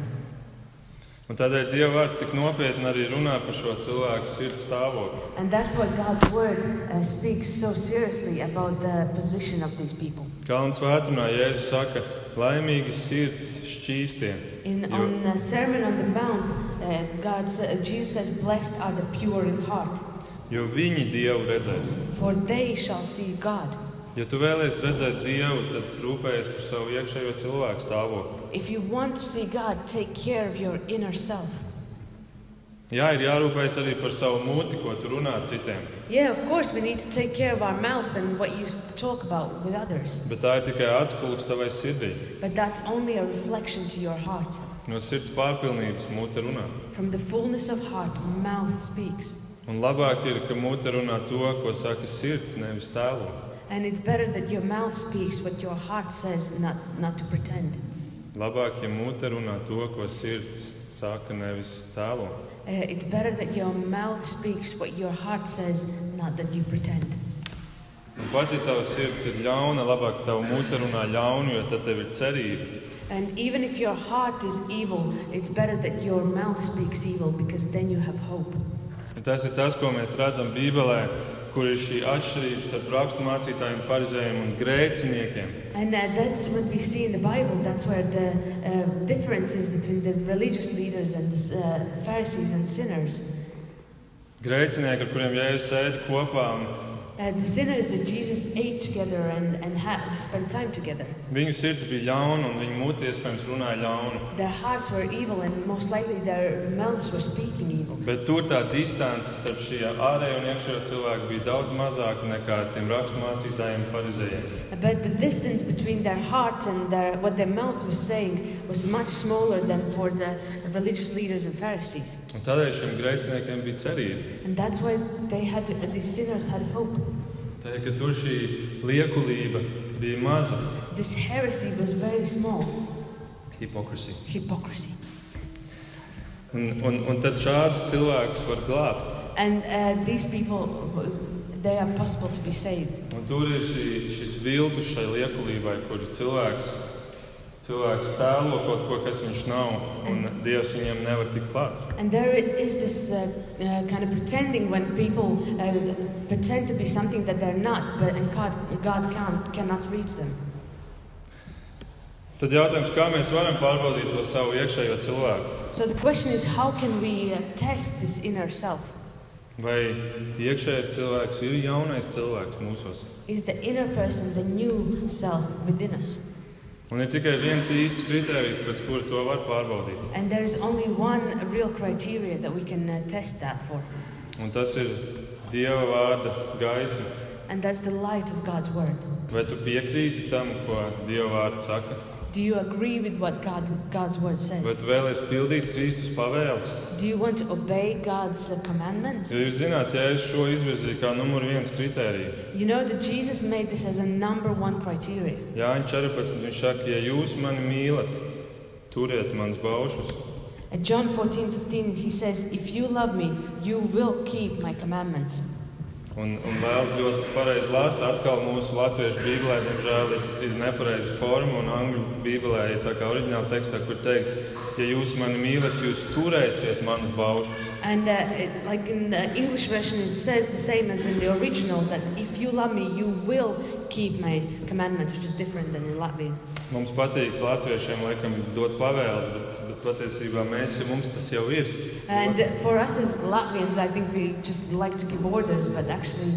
Speaker 1: Un tādēļ Dieva vārds tik nopietni arī runā par šo cilvēku sirds stāvokli.
Speaker 2: And that's why God's word uh, speaks so seriously about the position of these people.
Speaker 1: Kalnu svētumā Jēzus saka, laimīgi sirds šķīstie.
Speaker 2: In
Speaker 1: You-
Speaker 2: on the Sermon on the Mount, uh, God, sa- uh, Jesus says, "Blessed are the pure in heart,
Speaker 1: jo viņi Dievu redzēs.
Speaker 2: for they shall see God."
Speaker 1: Ja tu vēlies redzēt Dievu, tad rūpējies par savu iekšējo cilvēku stāvokli.
Speaker 2: If you want to see God, take care of your inner self.
Speaker 1: Jā, ir jārūpējas arī par savu mūti, ko tu runā citiem,
Speaker 2: Yeah, of course, we need to take care of our mouth and what you s- talk about with others,
Speaker 1: bet tā ir tikai atspūgs tavai sirdī.
Speaker 2: but that's only a reflection to your heart.
Speaker 1: No sirds pārpilnības mūte runā.
Speaker 2: From the fullness of heart, mouth speaks,
Speaker 1: Un labāk ir, ka mūte runā to, ko saka sirds, nevis tēlo.
Speaker 2: and it's better that your mouth speaks what your heart says, not not to pretend.
Speaker 1: Labāk, ja mūte runā to, ko sirds saka, nevis tēlo.
Speaker 2: Uh, it's better that your mouth speaks what your heart says, not that you pretend.
Speaker 1: Un pat ja tavs sirds ir ļauna, labāk tava mūte runā ļaunu, jo tad tev ir cerība.
Speaker 2: And even if your heart is evil, it's better that your mouth speaks evil because then you have hope.
Speaker 1: Un tas ir tas, ko mēs redzam Bībelē, kur ir šī atšķirība starp raksturmācītājiem, farizējiem un grēciniekiem.
Speaker 2: And uh, that's what we see in the Bible. That's where the uh, difference is between the religious leaders and the uh, Pharisees and sinners.
Speaker 1: Grēcinieki, ar kuriem jēzus sēdi kopā,
Speaker 2: Uh, the sinners that Jesus ate together and, and had, spent time together.
Speaker 1: viņu sirds bija ļauna un viņu mūte iespējams runāja ļaunu.
Speaker 2: Their hearts were evil, and most likely their mouths were speaking evil.
Speaker 1: Bet tur tā distance starp šiem ārējiem un iekšējiem cilvēkiem bija daudz mazāka nekā tiem raksturmācītājiem, farizējiem.
Speaker 2: But the distance between their heart and their, what their mouth was saying was much smaller than for the religious leaders and Pharisees.
Speaker 1: Un Tādēļ šiem grēciniekiem bija cerība.
Speaker 2: And that's why they had, these sinners had hope.
Speaker 1: Tādēļ, ka tur šī liekulība bija maza
Speaker 2: This heresy was very small.
Speaker 1: hipokrisija.
Speaker 2: Hypocrisy.
Speaker 1: Un, un, un tad šādus cilvēkus var glābt.
Speaker 2: And uh, these people, they are possible to be saved.
Speaker 1: Un tur ir šī, šis viltus šai liekulībai, kur cilvēks, cilvēks tēlo kaut ko, kas viņš nav, un Dievs viņiem nevar tikt klāt.
Speaker 2: And there is this uh, uh, kind of pretending when people uh, pretend to be something that they're not, but and God, God can't, cannot reach them.
Speaker 1: Tad jautājums, kā mēs varam pārbaudīt to savu iekšējo cilvēku?
Speaker 2: So the question is, how can we uh, test this inner self?
Speaker 1: Vai iekšējais cilvēks ir jaunais cilvēks mūsos?
Speaker 2: Is the inner person the new self within us?
Speaker 1: Un ir tikai viens īsts kriterijs, pēc kura to var pārbaudīt.
Speaker 2: And there is only one real criteria that we can uh, test that for,
Speaker 1: Un tas ir Dieva vārda gaisma.
Speaker 2: and that's the light of God's word.
Speaker 1: Vai tu piekrīti tam, ko Dieva vārds saka?
Speaker 2: Do you agree with what God, God's
Speaker 1: Vai
Speaker 2: word says?
Speaker 1: tu vēlies pildīt Kristus pavēles?
Speaker 2: Do you want to obey God's uh, commandments?
Speaker 1: Jo jūs zināt, ja es šo izvirzīju kā numur viens kritēriju,
Speaker 2: You know that Jesus made this as a number one criteria.
Speaker 1: Jānis 14. viņš saka, ja jūs mani mīlat, turiet manus baušus.
Speaker 2: At John 14 15, he says, If you love me, you will keep my commandments.
Speaker 1: Un, un vēl ļoti pareizi lasa, atkal mūsu latviešu bībelē, diemžēl, ir, ir nepareiza forma, un angļu bībelē ir tā kā oriģināla tekstā, kur teikts, ja jūs mani mīlat, jūs turēsiet manus baušus.
Speaker 2: And uh, it, like in the English version, it says the same as in the original that if you love me, you will keep my commandments, which is different than in Latvian.
Speaker 1: Mums patīk latviešiem laikam dot pavēles, bet, bet patiesībā mēs, mums tas jau ir. nu,
Speaker 2: And for us as Latvians, I think we just like to give orders, but actually,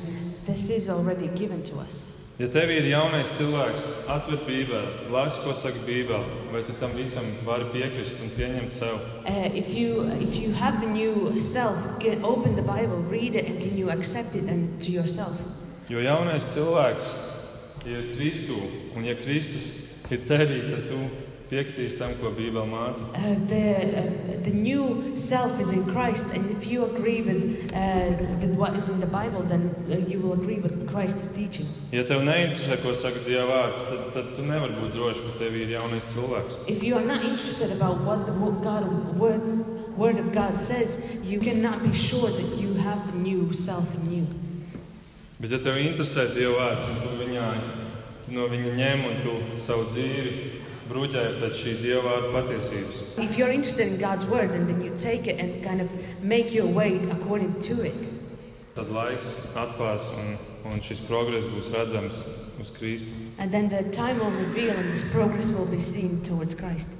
Speaker 2: this is already given to us.
Speaker 1: Ja tev ir jaunais cilvēks, atver Bībeli, lasi, ko saka Bībeli, vai tu tam visam vari piekrist un pieņemt sev?
Speaker 2: Uh, if you if you have the new self, get, open the Bible, read it, and can you accept it and to yourself?
Speaker 1: Jo jaunais cilvēks ir Kristū, un ja Kristus ir tevī, tad tu piekritīsi tam, ko Bībele māca.
Speaker 2: Uh, the uh, the new self is in Christ, and if you agree with uh, with what is in the Bible, then uh, you will agree with Christ's teaching.
Speaker 1: Ja tev neinteresē, ko saka Dieva vārds, tad, tad tu nevari būt drošs, ka tev ir jaunais cilvēks.
Speaker 2: If you are not interested about what the wo- God word word of God says, you cannot be sure that you have the new self in you.
Speaker 1: Bet, ja tev interesē Dieva vārds, un tu, viņā, tu no viņa ņem un tu savu dzīvi bruģē pēc šī Dieva vārda patiesības,
Speaker 2: If you're interested in God's word, and then you take it and kind of make your way according to it.
Speaker 1: tad laiks atklās un, un šis progress būs redzams uz Kristu.
Speaker 2: And then the time will reveal and this progress will be seen towards Christ.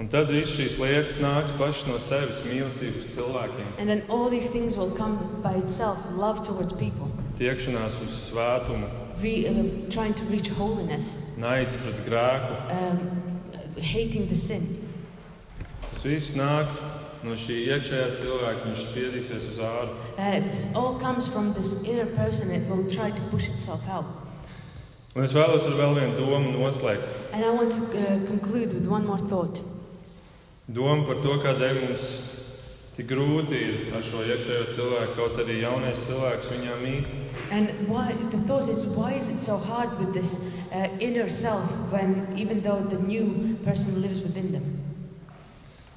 Speaker 1: Un tad viss šīs lietas nāks paši no sevis mīlestības cilvēkiem,
Speaker 2: And then all these things will come by itself love towards people,
Speaker 1: tiekšanās uz svētumu,
Speaker 2: re- uh, trying to reach holiness,
Speaker 1: naids pret grēku.
Speaker 2: um, hating the sin.
Speaker 1: Tas viss nāk no šī iekšējā cilvēka, viņš spiedīsies uz ārā.
Speaker 2: Uh, this all comes from this inner person. It will try to push itself out.
Speaker 1: Un es vēlos ar vēl vienu domu noslēgt.
Speaker 2: And I want to uh, conclude with one more thought.
Speaker 1: Doma par to, kādēļ mums tik grūti ir ar šo iekšējo cilvēku, kaut arī jaunais cilvēks viņā mīt.
Speaker 2: And why the thought is, why is it so hard with this uh, inner self when even though the new person lives within them?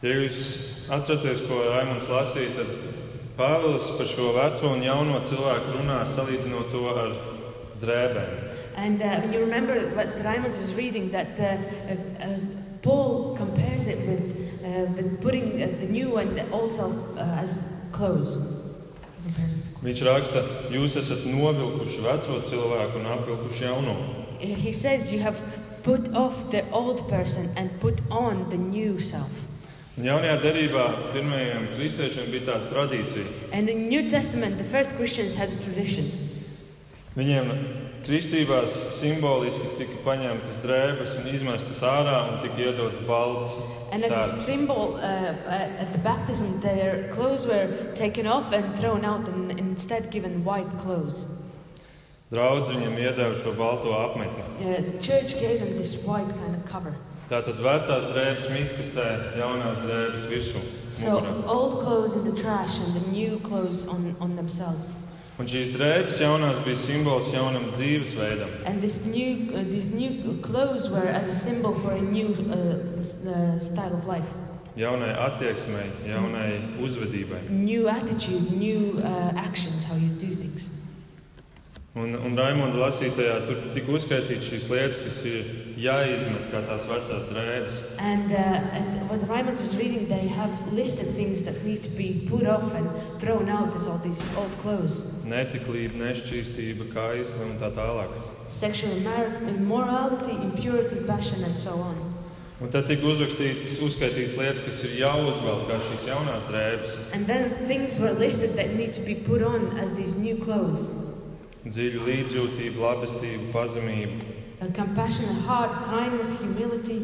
Speaker 1: Ja jūs atceraties, ko Raimons lasīja, tad Pāvils par šo veco un jauno cilvēku runā, salīdzinot to ar drēbēm.
Speaker 2: And uh, you remember what Raymond was reading that uh, uh, uh, Paul compares it with, uh, with putting uh, the new and the old self uh, as clothes.
Speaker 1: Viņš raksta, jūs esat novilkuši veco cilvēku un apvilkuši jauno.
Speaker 2: He says you have put off the old person and put on the new self.
Speaker 1: Un jaunajā derībā pirmajiem kristiešiem bija tāda tradīcija.
Speaker 2: And in New Testament, the first Christians had a tradition.
Speaker 1: Viņiem kristībās simboliski tika paņemtas drēbes un izmestas ārā un tika iedots balts.
Speaker 2: And as a
Speaker 1: tērps.
Speaker 2: symbol, uh, uh, at the baptism, their clothes were taken off and thrown out, and instead given white clothes.
Speaker 1: Draudz viņam iedeva šo balto apmetni.
Speaker 2: Uh, the church gave them this white kind of cover.
Speaker 1: Tātad vecās drēbes miskastē, jaunās drēbes virsū.
Speaker 2: So
Speaker 1: mugurā.
Speaker 2: old clothes in the trash and the new clothes on, on themselves.
Speaker 1: Un šīs drēbes jaunās bija simbols jaunam dzīvesveidam.
Speaker 2: And this new, uh, these new clothes were as a symbol for a new uh, s- uh, style of life,
Speaker 1: Jaunai attieksmei, jaunai uzvedībai.
Speaker 2: new attitude, new uh, actions, how you do things.
Speaker 1: Un, un Raimonda lasītājā tur tika uzskaitīts šīs lietas, kas ir jāizmet kā tās vecās drēbes.
Speaker 2: And, uh, and what Raymond was reading, they have listed things that need to be put off and thrown out as all these old clothes.
Speaker 1: Netiklība, nešķīstība, kaisla un tā tālāk.
Speaker 2: Sexual immor- immorality, impurity, passion, and so on.
Speaker 1: Un tad tika uzrakstītas, uzskaitītas lietas, kas ir jāuzvelk kā šīs jaunās drēbes.
Speaker 2: And then things were listed that need to be put on as these new clothes.
Speaker 1: Dziļa līdzjūtība, labestība, pazemība.
Speaker 2: a compassionate heart, kindness, humility,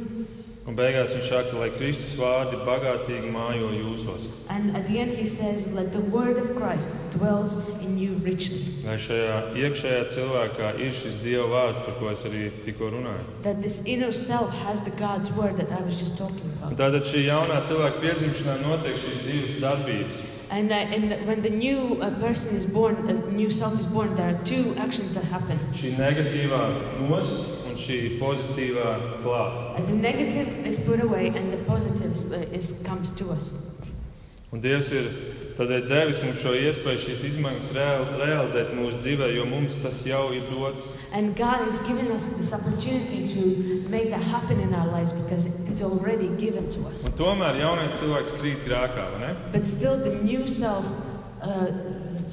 Speaker 1: Un beigās viņš saka, lai Kristus vārdi bagātīgi mājo jūsos.
Speaker 2: and at the end he says, "Let the word of Christ dwells in you richly."
Speaker 1: Lai šajā iekšējā cilvēkā ir šis Dieva vārds, par ko es arī tikko runāju.
Speaker 2: That this inner self has the God's word that I was just talking
Speaker 1: Un
Speaker 2: about.
Speaker 1: tātad šī jaunā cilvēka piedzimšanā notiek šīs divas darbības.
Speaker 2: And, uh, and when the new uh, person is born, a new self is born, there are two actions that happen.
Speaker 1: Šī negatīvā nos un šī pozitīvā klāta.
Speaker 2: Uh, the negative is put away, and the positive is, uh, is comes to us.
Speaker 1: Un Dievs ir tādēļ devis mums šo iespēju šīs izmaiņas real, realizēt mūsu dzīvē, jo mums tas jau ir dots.
Speaker 2: And God has given us this opportunity to make that happen in our lives because it is already given to us.
Speaker 1: Un tomēr jaunais cilvēks krīt grēkā, vai ne?
Speaker 2: But still, the new self uh,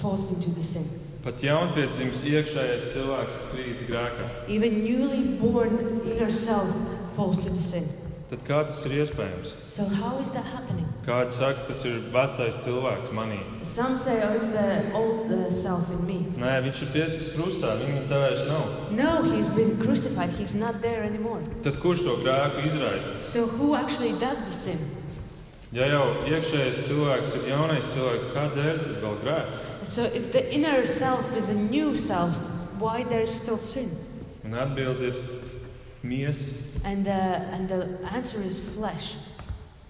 Speaker 2: falls into the sin.
Speaker 1: Pat jaunpiedzimis iekšējais cilvēks krīt grēkā.
Speaker 2: Even newly born inner self falls to the sin.
Speaker 1: Tad kā tas ir iespējams?
Speaker 2: So how is that happening?
Speaker 1: Kāds saka, tas ir vecais cilvēks manī.
Speaker 2: Some say, oh, it's the old uh, self in me.
Speaker 1: Nē, viņš ir piesis krustā, viņa tā vairs nav.
Speaker 2: No, he's been crucified. He's not there anymore.
Speaker 1: Tad kurš to grēku izraisa?
Speaker 2: So who actually does the sin?
Speaker 1: Ja jau iekšējais cilvēks ir jaunais cilvēks, kādēļ tad vēl grēks?
Speaker 2: So if the inner self is a new self, why there is still sin?
Speaker 1: Un atbildi ir miesa,
Speaker 2: And the, and the answer is flesh.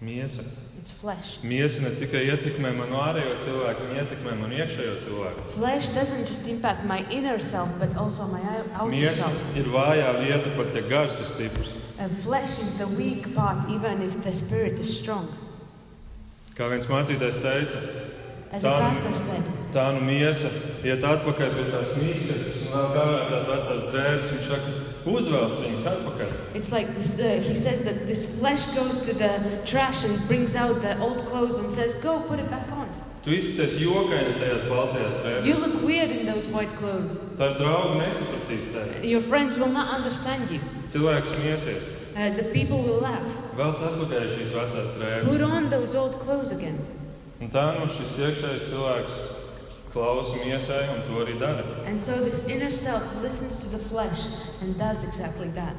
Speaker 1: miesa.
Speaker 2: It's flesh.
Speaker 1: Miesa ne tikai ietekmē manu ārējo cilvēku, viņa ietekmē manu iekšējo cilvēku.
Speaker 2: Flesh doesn't just impact my inner self, but also my ou- outer
Speaker 1: Miesa
Speaker 2: self.
Speaker 1: ir vājā vieta, pat ja gars ir stiprs.
Speaker 2: And flesh is the weak part, even if the spirit is strong.
Speaker 1: Kā viens mācītājs teica,
Speaker 2: As a
Speaker 1: Done.
Speaker 2: pastor said,
Speaker 1: tā nu miesa iet atpakaļ pie tās mīsas, un vēl gājā tās vecās drēbes. Viņš saka, uzvelc viņas atpakaļ.
Speaker 2: it's like this, uh, he says that this flesh goes to the trash and brings out the old clothes and says, Go put it back on.
Speaker 1: Tu izskaties jokains tajās baltajās
Speaker 2: You
Speaker 1: drēbēs.
Speaker 2: look weird in those white clothes.
Speaker 1: Tā ir drauga nesapratīs tevi.
Speaker 2: Your friends will not understand you.
Speaker 1: Cilvēks miesies.
Speaker 2: Uh, the people will laugh.
Speaker 1: Velc atpakaļ šīs vecās
Speaker 2: Put
Speaker 1: drēbes.
Speaker 2: on those old clothes again.
Speaker 1: Un tā nu šis iekšējais cilvēks klausa miesai un to arī dara.
Speaker 2: And so this inner self listens to the flesh and does exactly that.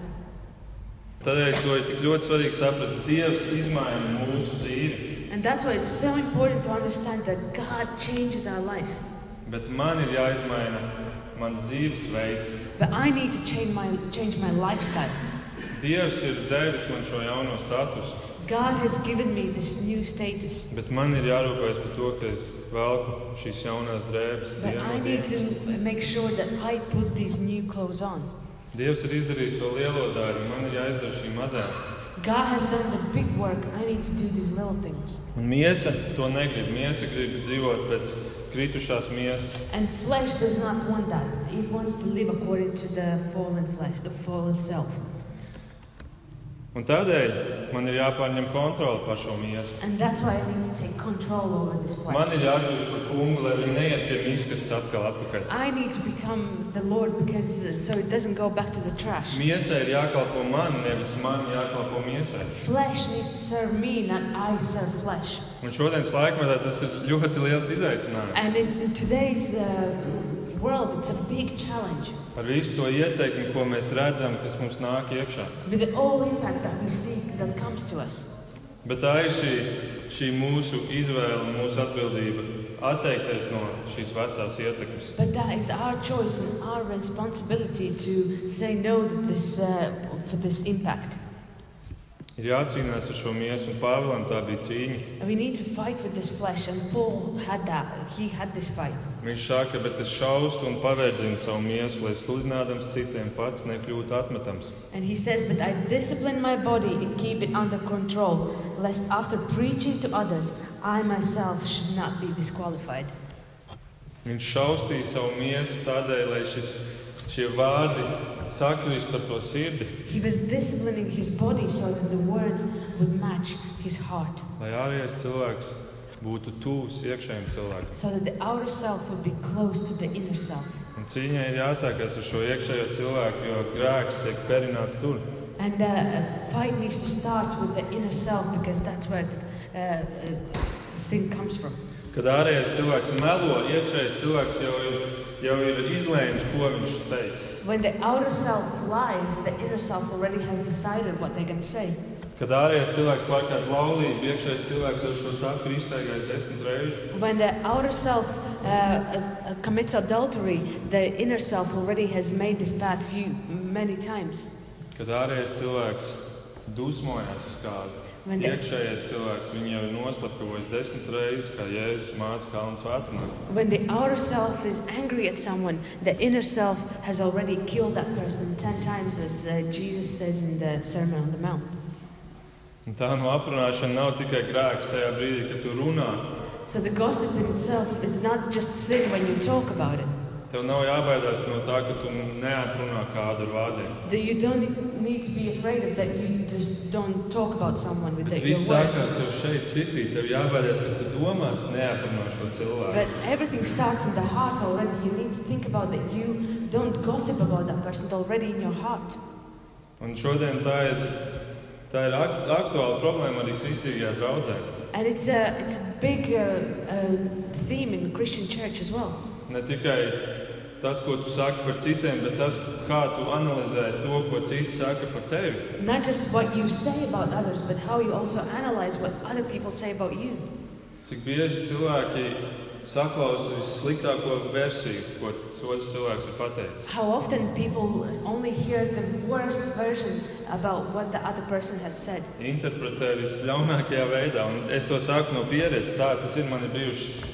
Speaker 1: Tādēļ to ir tik ļoti svarīgi saprast. Dievs izmaina mūsu dzīvi,
Speaker 2: And that's why it's so important to understand that God changes our life.
Speaker 1: bet man ir jāizmaina mans dzīvesveids.
Speaker 2: But I need to change my, change my lifestyle.
Speaker 1: Dievs ir devis man šo jauno statusu,
Speaker 2: God has given me this new status.
Speaker 1: bet man ir jārūpējas par to, ka es velku šīs jaunās drēbes.
Speaker 2: But
Speaker 1: dienu no
Speaker 2: I need
Speaker 1: dienas.
Speaker 2: to make sure that I put these new clothes on.
Speaker 1: Dievs ir izdarījis to lielo darbu, man ir jāizdara šī mazā.
Speaker 2: God has done the big work. I need to do these little things.
Speaker 1: Un miesa to negrib. Miesa grib dzīvot pēc kritušās miesas.
Speaker 2: And flesh does not want that. It wants to live according to the fallen flesh, the fallen self.
Speaker 1: Un tādēļ man ir jāpārņem kontrole par šo miesu.
Speaker 2: And that's why I need to take control over this flesh.
Speaker 1: Man ir jākļūst par kungu, lai viņi neiet pie miskas atkal atpakaļ.
Speaker 2: I need to become the Lord because uh, so it doesn't go back to the trash.
Speaker 1: Miesai ir jākalpo man, nevis man jākalpo miesai.
Speaker 2: Flesh needs to serve me, not I serve flesh.
Speaker 1: Un šodienas laikmetā tas ir ļoti liels izaicinājums.
Speaker 2: And in, in today's uh, world, it's a big challenge
Speaker 1: Ar visu to ieteikumu, ko mēs redzam, kas mums nāk iekšā.
Speaker 2: with the all impact that we see that comes to us.
Speaker 1: Bet tā ir šī, šī mūsu izvēle un mūsu atbildība atteikties no šīs vecās ietekmes.
Speaker 2: But that is our choice and our responsibility to say no to this uh, for this impact.
Speaker 1: Ir jācīnās ar šo miesu, un Pāvēlam tā bija cīņa.
Speaker 2: And we need to fight with this flesh, and Paul had that. He had this fight.
Speaker 1: Viņš saka, bet es šaustu un paverdzinu savu miesu, lai sludinādams citiem pats nekļūtu atmetams.
Speaker 2: And he says, But I discipline my body and keep it under control, lest after preaching to others, I myself should not be disqualified.
Speaker 1: Viņš šaustīja savu miesu tādēļ, lai šis, šie vārdi sakļūst ar to sirdi,
Speaker 2: He was disciplining his body so that the words would match his heart,
Speaker 1: lai ārējais cilvēks būtu tuvs iekšējiem cilvēkiem.
Speaker 2: so that the outer self would be close to the inner self.
Speaker 1: Un cīņai ir jāsākās ar šo iekšējo cilvēku, jo grēks tiek perināts tur.
Speaker 2: And uh, fight needs to start with the inner self because that's where uh, uh, sin comes from.
Speaker 1: Kad ārējais cilvēks melo, iekšējais cilvēks jau ir, jau ir izlēms, ko viņš teiks.
Speaker 2: When the outer self lies, the inner self already has decided what they're going to say.
Speaker 1: Kad ārējais cilvēks pārkāpj laulību, iekšējais cilvēks ar šo tādu ir iztaigājis desmit reizes.
Speaker 2: When the outer self uh, uh, commits adultery, the inner self already has made this path few many times.
Speaker 1: Kad ārējais cilvēks dusmojās uz kādu,
Speaker 2: When the,
Speaker 1: iekšējais cilvēks viņu jau ir noslapkavojis desmit reizes, kā Jēzus māca Kalnu svētumā.
Speaker 2: when the outer self is angry at someone, the inner self has already killed that person ten times, as uh, Jesus says in the Sermon on the Mount.
Speaker 1: Un Tā no aprunāšana nav tikai grēks tajā brīdī, kad tu runā.
Speaker 2: So the gossip in itself is not just sin when you talk about it.
Speaker 1: Tev nav jābaidās no tā, ka tu neaprunā kādu ar vārdiem.
Speaker 2: That you don't need to be afraid of that. You just don't talk about someone with
Speaker 1: Bet
Speaker 2: your
Speaker 1: viss
Speaker 2: words.
Speaker 1: sākās jau šeit, citī. Tev jābaidās, ka tu domās neaprunā šo cilvēku.
Speaker 2: But everything starts in the heart already. You need to think about that. You don't gossip about that person It's already in your heart.
Speaker 1: Un šodien tā ir, tā ir ak aktuāla problēma arī kristīgajā draudzē.
Speaker 2: And it's a, it's a big uh, uh, theme in Christian church as well.
Speaker 1: Ne tikai tas, ko tu saki par citiem, bet tas, kā tu analizē to, ko citi saka par tevi.
Speaker 2: Not just what you say about others, but how you also analyze what other people say about you.
Speaker 1: Cik bieži cilvēki saklausa vissliktāko versiju, ko otrs cilvēks ir pateicis.
Speaker 2: How often people only hear the worst version about what the other person has said.
Speaker 1: Interpretē visļaunākajā veidā, un es to saku no pieredzes. Tā tas ir man ir bijuši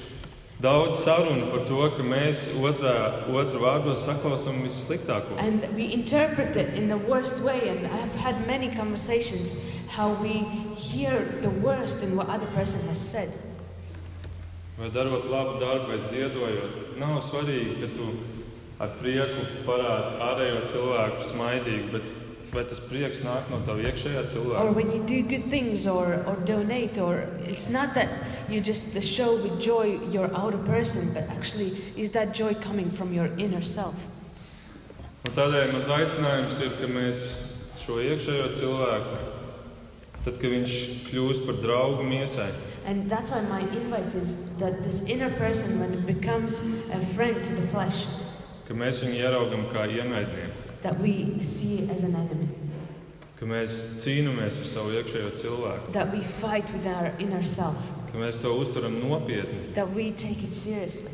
Speaker 1: daudz sarunu par to, ka mēs otrā, otru vārdos saklausām vissliktāko.
Speaker 2: And we interpret it in the worst way, and I've had many conversations how we hear the worst in what other person has said.
Speaker 1: Vai darot labu darbu, vai ziedojot, nav svarīgi, ka tu ar prieku parādi ārējo cilvēku smaidīgu, bet vai tas prieks nāk no tava iekšējā
Speaker 2: Or
Speaker 1: cilvēka?
Speaker 2: when you do good things or, or donate, or it's not that you just show with joy your outer person, but actually, is that joy coming from your inner self?
Speaker 1: Un tādēļ mans aicinājums ir, ka mēs šo iekšējo cilvēku, tad, kad viņš kļūst par draugu miesai,
Speaker 2: And that's why my invite is that this inner person, when it becomes a friend to the flesh,
Speaker 1: ka mēs viņu ieraugam kā ienaidnieku,
Speaker 2: that we see it as an enemy,
Speaker 1: ka mēs cīnāmies ar savu iekšējo cilvēku,
Speaker 2: that we fight with our inner self,
Speaker 1: ka mēs to uztveram nopietni.
Speaker 2: that we take it seriously.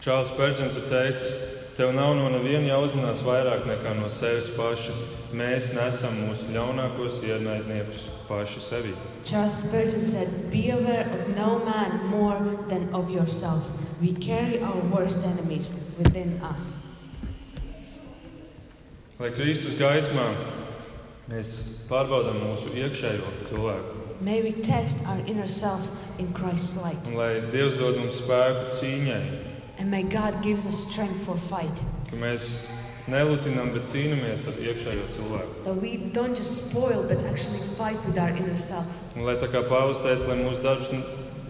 Speaker 1: Čārlis Pērģents ir teicis, tev nav no neviena jāuzmanās vairāk nekā no sevis paša. Mēs nesam mūsu ļaunākos ienaidniekus paši sevi.
Speaker 2: Charles Spurgeon said, Be aware of no man more than of yourself. We carry our worst enemies within us.
Speaker 1: Lai Kristus gaismā mēs pārbaudām mūsu iekšējo cilvēku,
Speaker 2: May we test our inner self in Christ's light.
Speaker 1: un lai Dievs dod mums spēku cīņai,
Speaker 2: And may God give us strength for fight.
Speaker 1: ka mēs nelutinām, bet cīnāmies ar iekšējo cilvēku.
Speaker 2: That we don't just spoil, but actually fight with our inner self.
Speaker 1: Un lai tā kā Pāvils teica, lai mūsu darbs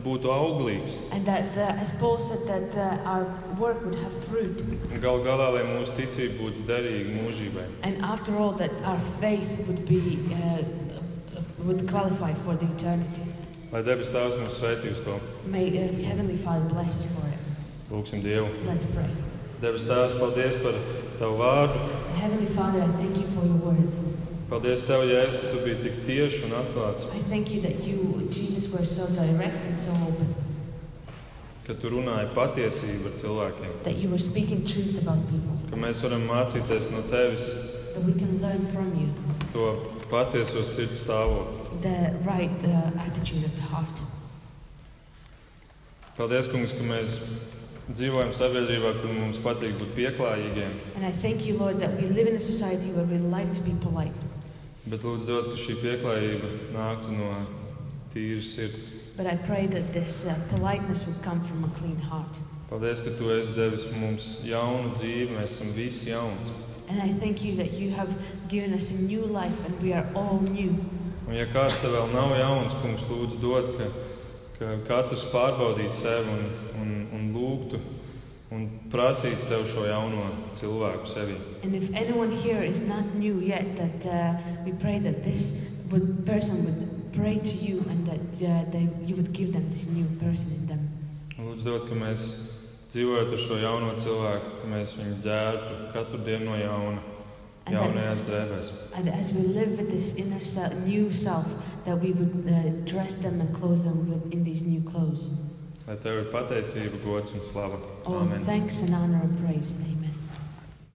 Speaker 1: būtu auglīgs,
Speaker 2: And that, uh, as Paul said, that uh, our work would have fruit.
Speaker 1: un gal galā, lai mūsu ticība būtu derīga mūžībai.
Speaker 2: And after all, that our faith would be, uh, would qualify for the eternity.
Speaker 1: Lai debes Tēvs mūs sveitī uz to.
Speaker 2: May uh, Heavenly Father bless us for it.
Speaker 1: Lūksim Dievu!
Speaker 2: Let's pray.
Speaker 1: Debes Tēvs, paldies par Tavu vārdu.
Speaker 2: Heavenly Father, I thank you for your word.
Speaker 1: Paldies Tev, Jēzus, ka Tu biji tik tieši un atklāts,
Speaker 2: I thank you that you, Jesus, were so direct and so open,
Speaker 1: ka Tu runāji patiesību ar cilvēkiem.
Speaker 2: that you were speaking truth about people,
Speaker 1: Ka mēs varam mācīties no Tevis
Speaker 2: that we can learn from you
Speaker 1: to patieso sirds stāvokli.
Speaker 2: the right uh, attitude of the heart.
Speaker 1: Paldies, Kungs, ka mēs dzīvojam sabiedrībā, kur mums patīk būt pieklājīgiem.
Speaker 2: And I thank you, Lord, that we live in a society where we like to be polite,
Speaker 1: Bet lūdzu, dod, ka šī pieklājība nāktu no tīras sirds.
Speaker 2: but I pray that this uh, politeness would come from a clean heart.
Speaker 1: Paldies, ka Tu esi devis mums jaunu dzīvi, mēs esam visi jauns.
Speaker 2: And I thank you that you have given us a new life and we are all new.
Speaker 1: Un, ja kāds tev vēl nav jauns, kungs, lūdzu, dod, ka, ka katrs pārbaudītu sevi un, un, un lūgtu un prasītu tev šo jauno cilvēku sevi.
Speaker 2: And if anyone here is not new yet, that uh, we pray that this would, person would pray to you and that uh, they, you would give them this new person in them.
Speaker 1: Un Lūdzu, dod, ka mēs dzīvojam ar šo jauno cilvēku, ka mēs viņu ģērbtu katru dienu no jauna,
Speaker 2: And that,
Speaker 1: jaunajās drēbēs.
Speaker 2: and as we live with this inner self, new self, that we would uh, dress them and clothe them with, in these new clothes.
Speaker 1: Lai tev ir pateicība, gods un slava.
Speaker 2: All
Speaker 1: Amen.
Speaker 2: thanks and honor and praise. Amen.